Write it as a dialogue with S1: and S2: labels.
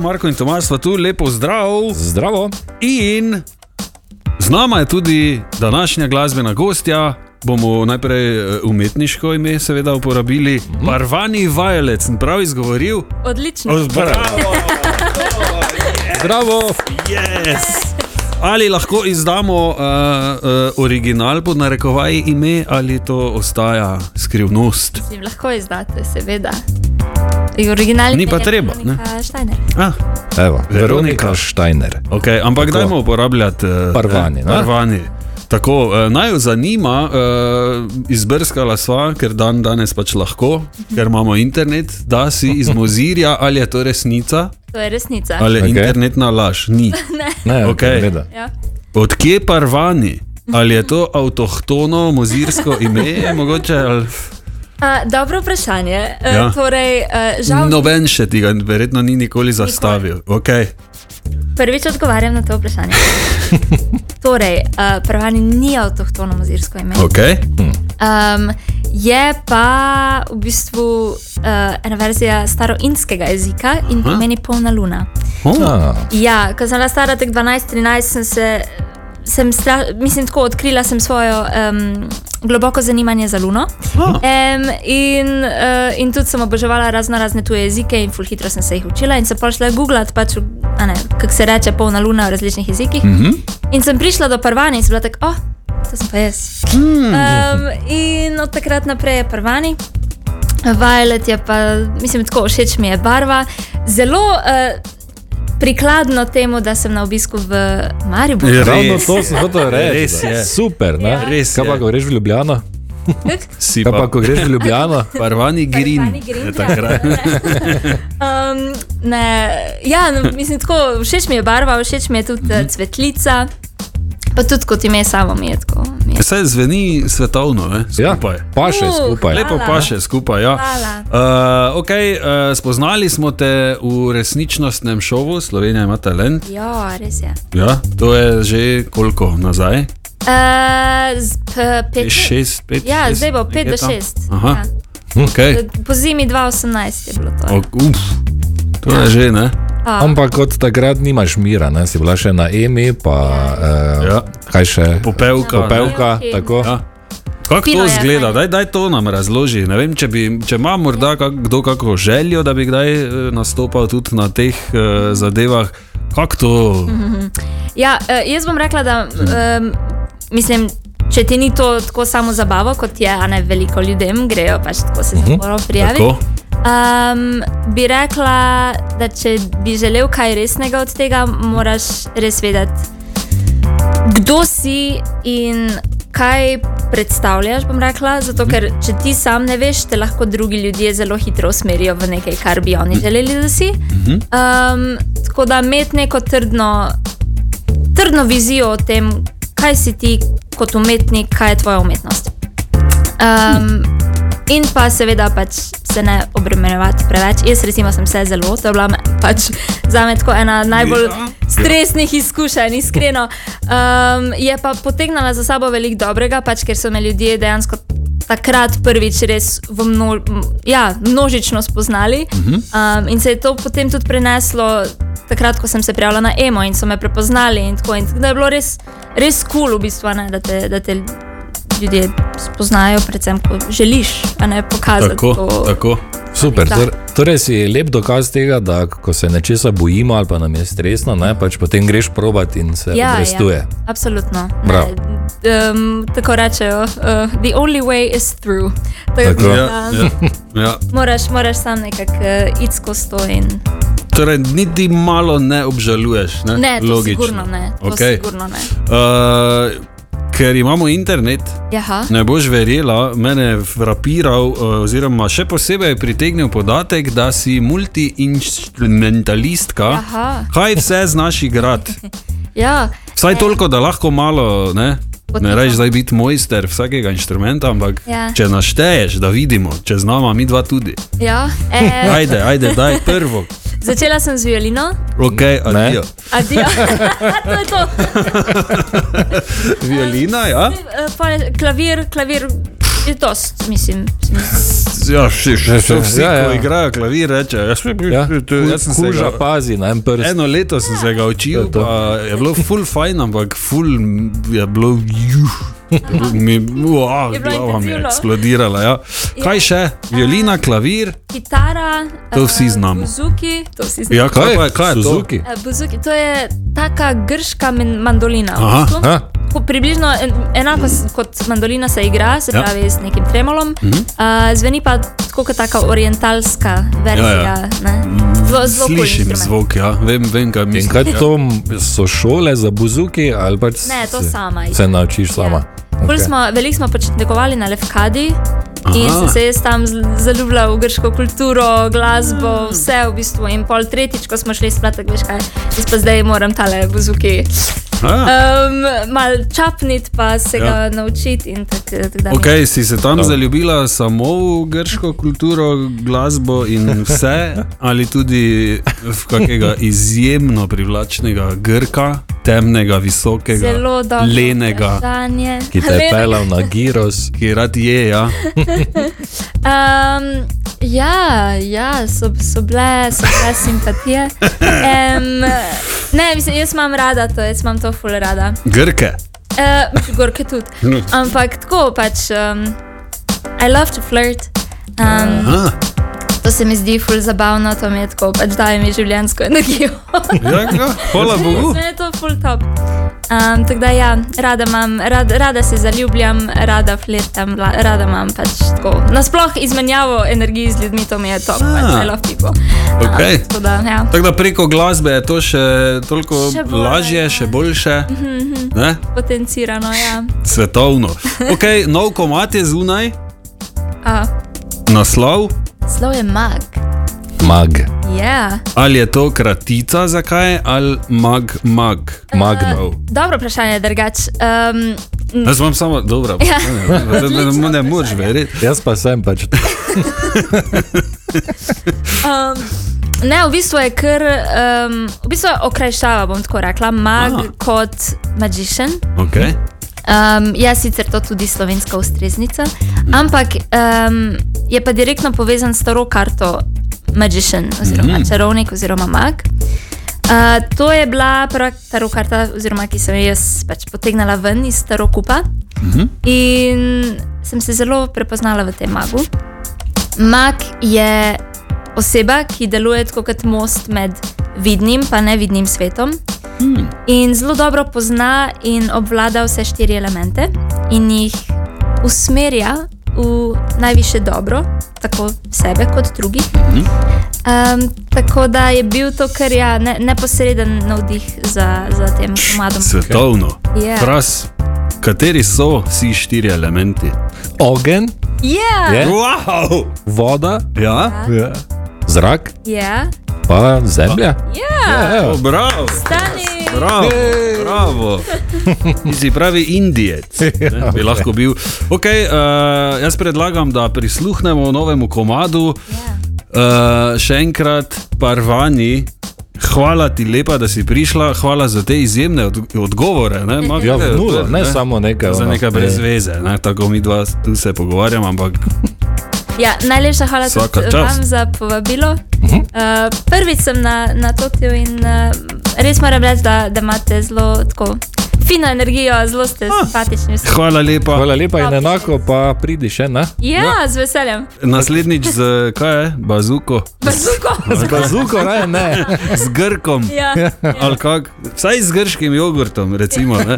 S1: Marko in Tomas sta tu, lepo zdrav.
S2: Zdravo.
S1: In z nama je tudi današnja glasbena gostja. Bomo najprej eh, umetniško ime, seveda, uporabili. Marvani Violet, sem prav izgovoril.
S3: Odlično.
S2: Zdravo.
S1: Yes. Ali lahko izdamo uh, uh, original pod narekovaji ime, ali to ostaja skrivnost?
S3: Mislim, lahko izdate, seveda. In Originalni
S1: Ni pa
S3: je
S1: treba,
S3: Veronika Štajner.
S1: Ah,
S2: Evo,
S1: Veronika.
S2: Veronika Štajner.
S1: Okay, ampak Tako. dajmo uporabljati eh,
S2: Parvani,
S1: eh,
S2: ne?
S1: Parvani. Tako, eh, naj jo zanima, eh, izbrskala sva, ker dan danes pač lahko, ker imamo internet, da si iz mozirja, ali je to resnica,
S3: To je resnica.
S1: ali je
S2: Okej.
S1: okay. internetna laž. Ni.
S2: Ne,
S1: Okej.
S2: gleda.
S3: Ja.
S1: Odkje parvani? Ali je to avtohtono mozirsko ime, mogoče ali
S3: A, dobro vprašanje. E,
S1: Ja. No.
S3: Torej, e, žal,
S1: noben še tega, verjetno ni nikoli zastavil. Okay.
S3: prvič odgovarjam na to vprašanje. torej, e, Prvani ni avtohtono mozirsko ime.
S1: Okay.
S3: Um, je pa v bistvu uh, ena verzija staroindskega jezika in
S1: Aha.
S3: pomeni polna luna.
S2: Hm.
S1: Oh.
S2: A,
S3: Ja, ko sem bila stara tek 12-13, sem se, sem stra, mislim, tako odkrila sem svojo um, globoko zanimanje za Luno.
S1: Ah.
S3: Um, in, uh, in tudi sem oboževala razno razne tuje jezike in ful hitro sem se jih učila in sem pa šla googlati, pač, a ne, kako se reče polna Luna v različnih jezikih. Mm -hmm. In sem prišla do Parvani in sem bila tako, oh, to sem pa jaz.
S1: Hm.
S3: Mm. Um, in od takrat naprej je Parvani. Violet je pa, mislim, tako všeč mi je barva. Zelo uh, prikladno temu, da sem na obisku v Mariboru.
S1: Ja.
S2: Ravno
S1: Res
S2: to sem hotel reči.
S1: Res je.
S2: Super, ne?
S3: Ja.
S1: Res
S2: Kaj
S1: je.
S2: pa, ko greš v Ljubljano?
S1: Si
S2: Kaj Ja, pa,
S1: pa,
S2: ko greš v Ljubljano?
S1: parvani green.
S3: Parvani green,
S1: je
S3: ja.
S1: takrat.
S3: Um, ne, ja, no, mislim, tako všeč mi je barva, všeč mi je tudi
S1: Mhm.
S3: mm -hmm. cvetlica, pa tudi kot ime samo mi je tako. Mi je.
S1: Vse zveni svetovno, ne?
S2: Ja,
S1: skupaj. Ja.
S2: pa še
S3: Uh,
S2: skupaj.
S3: Lepo.
S1: Lepo
S3: Hvala.
S1: pa še skupaj. Ja. Uh, okay, uh, spoznali smo te v resničnostnem šovu, Slovenija ima talent.
S3: Ja, res je.
S1: Ja, to je že koliko nazaj?
S3: Uh, z, p, pet, let.
S1: Šest, pet,
S3: Ja,
S1: šest,
S3: zdaj bo 5 do
S1: nekje tam?
S3: 6.
S1: Aha,
S3: Ja.
S2: Hm.
S1: okay.
S3: Po zimi 2018 je bilo to.
S1: o, uf, to
S2: Ja.
S1: je že ne.
S3: A,
S2: Ampak od takrat nimaš mira, ne? si bila še na EMI, pa eh,
S1: Ja.
S2: kaj še?
S1: Popevka. ne?
S2: Popevka,
S3: Popevki.
S2: tako.
S1: Ja. Kako
S3: Fino
S1: to
S3: je,
S1: zgleda?
S3: fajn.
S1: Daj, daj to nam razloži. Ne Vem, če, bi, če ima morda kak, kdo kakšno željo, da bi kdaj eh, nastopal tudi na teh uh, zadevah, kako to
S3: Mhm. Ja, eh, jaz bom rekla, da um, mislim, če ti ni to tako samo zabavo, kot je, a ne veliko ljudem, grejo pač tako se zelo prijaviti.
S1: tako?
S3: Um, bi rekla, da če bi želel kaj resnega od tega, moraš res vedeti, kdo si in kaj predstavljaš. bom Rekla, zato, ker če ti sam ne veš, te lahko drugi ljudje zelo hitro usmerijo v nekaj, kar bi oni želeli, da si. Um, tako da imeti neko trdno, trdno vizijo o tem, kaj si ti kot umetnik, kaj je tvoja umetnost. Um, in pa seveda pač se ne obremenjevati preveč. Jaz recimo sem se zelo, to je bila me- pač za me tako ena najbolj stresnih izkušenj, iskreno. Um, je pa potegnila za sabo veliko dobrega, pač ker so me ljudje dejansko takrat prvič res v mno, m, ja, množično spoznali.
S1: Mhm.
S3: Um, in se je to potem tudi preneslo takrat, ko sem se prijavila na EMO in so me prepoznali. In tako, in tako da je bilo res, res kul, cool v bistvu, a ne, da te. Da te Ljudje spoznajo, predvsem, ko želiš, a ne pokazati.
S1: Tako,
S3: to.
S1: tako.
S2: Super.
S3: Da.
S2: Tor, torej si lep dokaz tega, da ko se nečesa bojimo ali pa nam je stresno, ne, pač potem greš probat in se ja, obrestuje. Ja.
S3: absolutno.
S2: Bravo.
S3: Um, tako rečejo, uh, the only way is through. Tako,
S2: Tako.
S3: da,
S1: Ja, ja, ja.
S3: Moraš, moraš sam nekako uh, iti skozi to. In...
S1: Torej, niti malo ne obžaluješ. Ne,
S3: Ne, to
S1: Logično.
S3: sigurno ne. To
S1: Okej.
S3: sigurno ne.
S1: Uh, ker imamo internet,
S3: Jaha.
S1: ne boš verjela, mene je frapiral, uh, oziroma še posebej pritegnil podatek, da si multi-instrumentalistka.
S3: Aha.
S1: Kaj vse znaš igrati?
S3: Ja,
S1: Vsaj toliko, da lahko malo, ne, ne
S3: Potiho.
S1: rečeš, da je biti mojster vsakega inštrumenta, ampak
S3: Ja.
S1: če našteješ, da vidimo, če znamo, mi dva tudi.
S3: ja. E,
S1: Ajde, ajde, daj prvo.
S3: začela sem z violino.
S1: Ok, adijo.
S3: Adijo. to je to.
S1: Violina, ja?
S3: Eh, pol je Klavir, klavir. je dost, mislim. se mi zdi.
S1: Ja, še, še, še vsi, ja,
S2: Ja,
S1: ja.
S2: ja.
S1: ko igrajo klavir, rečejo, jaz,
S2: Ja,
S1: Hm, jaz sem se
S2: kuža
S1: ga,
S2: pazi na en prst.
S1: eno leto sem se ga učil,
S2: To je to.
S1: pa je bilo ful fajn, ampak ful je bilo juh. Mi, uah,
S3: Je bilo
S1: glava mi je
S3: intenzivno.
S1: eksplodirala. Ja. Kaj
S3: Ja.
S1: še? Violina, klavir,
S3: Kitara,
S1: To
S3: eh,
S1: vsi znamo.
S3: Buzuki, to vsi znamo.
S1: ja, kaj, pa, je- kaj je to?
S2: Suzuki?
S3: Eh, Buzuki, to je taka grška men- mandolina. v
S1: Aha.
S3: bistvu.
S2: Ha?
S3: Ko približno en, enako s- kot mandolina se igra, se
S1: Ja. Mhm.
S3: pravi s nekim tremolom, uh -huh. uh, zveni pa tako kot taka orientalska verzija.
S1: Ja,
S3: Ja,
S1: ja.
S3: ja. Zelo, zelo kul
S1: Slišim
S3: instrument.
S1: zvok, ja. vem, vem kaj
S2: In
S1: mislim. ja.
S2: kaj to m, so šole za buzuki ali pač
S3: Ne, to
S2: se-
S3: sama. Ja.
S2: Se naučiš sama.
S3: Bolj
S2: Ok.
S3: Smo, veliko smo pač tekmovali na Levkadi in
S1: Aha.
S3: sem se jaz tam z- zaljubila v grško kulturo, glasbo,
S1: Mm.
S3: vse v bistvu. In pol tretjič, ko smo šli splat, veš kaj, jaz pa zdaj moram tale buzuki
S1: Ah,
S3: um, mal čapniti, pa se
S1: Ja.
S3: ja. ga naučiti in tako tak, dalje.
S1: ok, si se tam zaljubila samo v grško kulturo, glasbo in vse, ali tudi v kakega izjemno privlačnega Grka, temnega, visokega,
S3: Zelo dobro.
S1: lenega.
S3: vprašanje.
S2: Ki te je pelal na Giros.
S1: ki rad je. Ja.
S3: Um, ja, ja so, so bile, so bile simpatije. Um, ne, mislim, jaz imam rada to, jaz imam to ful rada.
S1: Grke.
S3: Uh, gorke tudi.
S1: No.
S3: Ampak tako pač. Um, I love to flirt. Um,
S1: Ah,
S3: to se mi zdi ful zabavno, to mi je tako, pač daje mi življensko energijo.
S1: ja, ja, hvala Bogu.
S3: Mene je to ful top. Um, tako da ja, rada, imam, rad, rada se zaljubljam, rada flirtam, la- rada imam pač tako. Nasploh izmenjavo energij z ljudmi, to mi je top, pač I love people.
S1: Ah. Okej.
S3: Um, tako da, ja.
S1: Tako da preko glasbe je to še toliko
S3: Še
S1: še
S3: bolj, mhm.
S1: lažje,
S3: ja.
S1: še boljše. Ne?
S3: Potencirano, ja.
S1: Svetovno. Okay, nov komat je zunaj,
S3: A,
S1: naslov.
S3: Slov je mag.
S2: Mag.
S3: Yeah.
S1: Ali je to kratica, zakaj, ali mag, mag.
S2: Magnov.
S3: Dobro vprašanje, drugač. Um,
S1: Jaz imam samo dobro,
S3: Ja.
S1: ne, ne, ne, ne moreš verjeti.
S2: Jaz pa sem pač.
S3: Um, ne, v bistvu je kar, um, v bistvu je okrajšava, bom tako rekla, mag
S1: Aha.
S3: Aha. kot magician.
S1: Okay.
S3: Um, je sicer to tudi slovenska ustreznica, ampak um, je pa direktno povezan s staro karto magician oziroma mm. čarovnik oziroma mag. Uh, to je bila prva tarokarta, oziroma ki sem jo jaz pač potegnila ven iz starokupa. In sem se zelo prepoznala v tem magu. Mag je oseba, ki deluje tako kot most med vidnim in nevidnim svetom.
S1: Hmm.
S3: In zelo dobro pozna in obvlada vse štiri elemente in jih usmerja v najviše dobro, tako sebe kot drugih. Um, tako da je bil to kar ja, ne, neposreden navdih za, za tem komadom.
S1: Svetovno.
S3: Ja.
S1: Fras, kateri so vsi štiri elementi?
S2: Ogen,
S3: Ja,
S2: Je?
S1: Wow!
S2: voda,
S1: Ja,
S2: ja. zrak,
S3: ja,
S2: pa zemlja. Ja,
S3: ja,
S2: evo.
S1: oh, bravo.
S3: stani.
S1: Bravo, bravo. Ti si pravi Indijec, ne, bi lahko bil. Okay, uh, jaz predlagam, da prisluhnemo novemu komadu.
S3: Ja.
S1: Uh, še enkrat, parvani. Hvala ti lepa, da si prišla, hvala za te izjemne od odgovore. Ne, Mak,
S2: Ja, v nulo,
S1: to-
S2: ne samo nekaj,
S1: Za
S2: ono,
S1: nekaj
S2: ne.
S1: brez veze, ne, tako mi dva tu se pogovarjamo, ampak
S3: Ja, najlepša hvala
S1: Vsaka
S3: tudi
S1: čast.
S3: vam za povabilo. Uh -huh. uh, prvič sem na, na Totiju in uh, res moram reči, da, da imate zelo tako fino energijo, zelo ste simpatični. vsi.
S1: hvala lepa.
S2: Hvala lepa in enako pa pridi še, ne?
S3: Ja, z veseljem.
S1: Naslednjič z kaj je, bazuko,
S3: Bazuko.
S2: Z bazuko, ne, ne.
S1: z grkom.
S3: Ja.
S1: Ali kak, vsaj z grškim jogurtom, recimo. ne.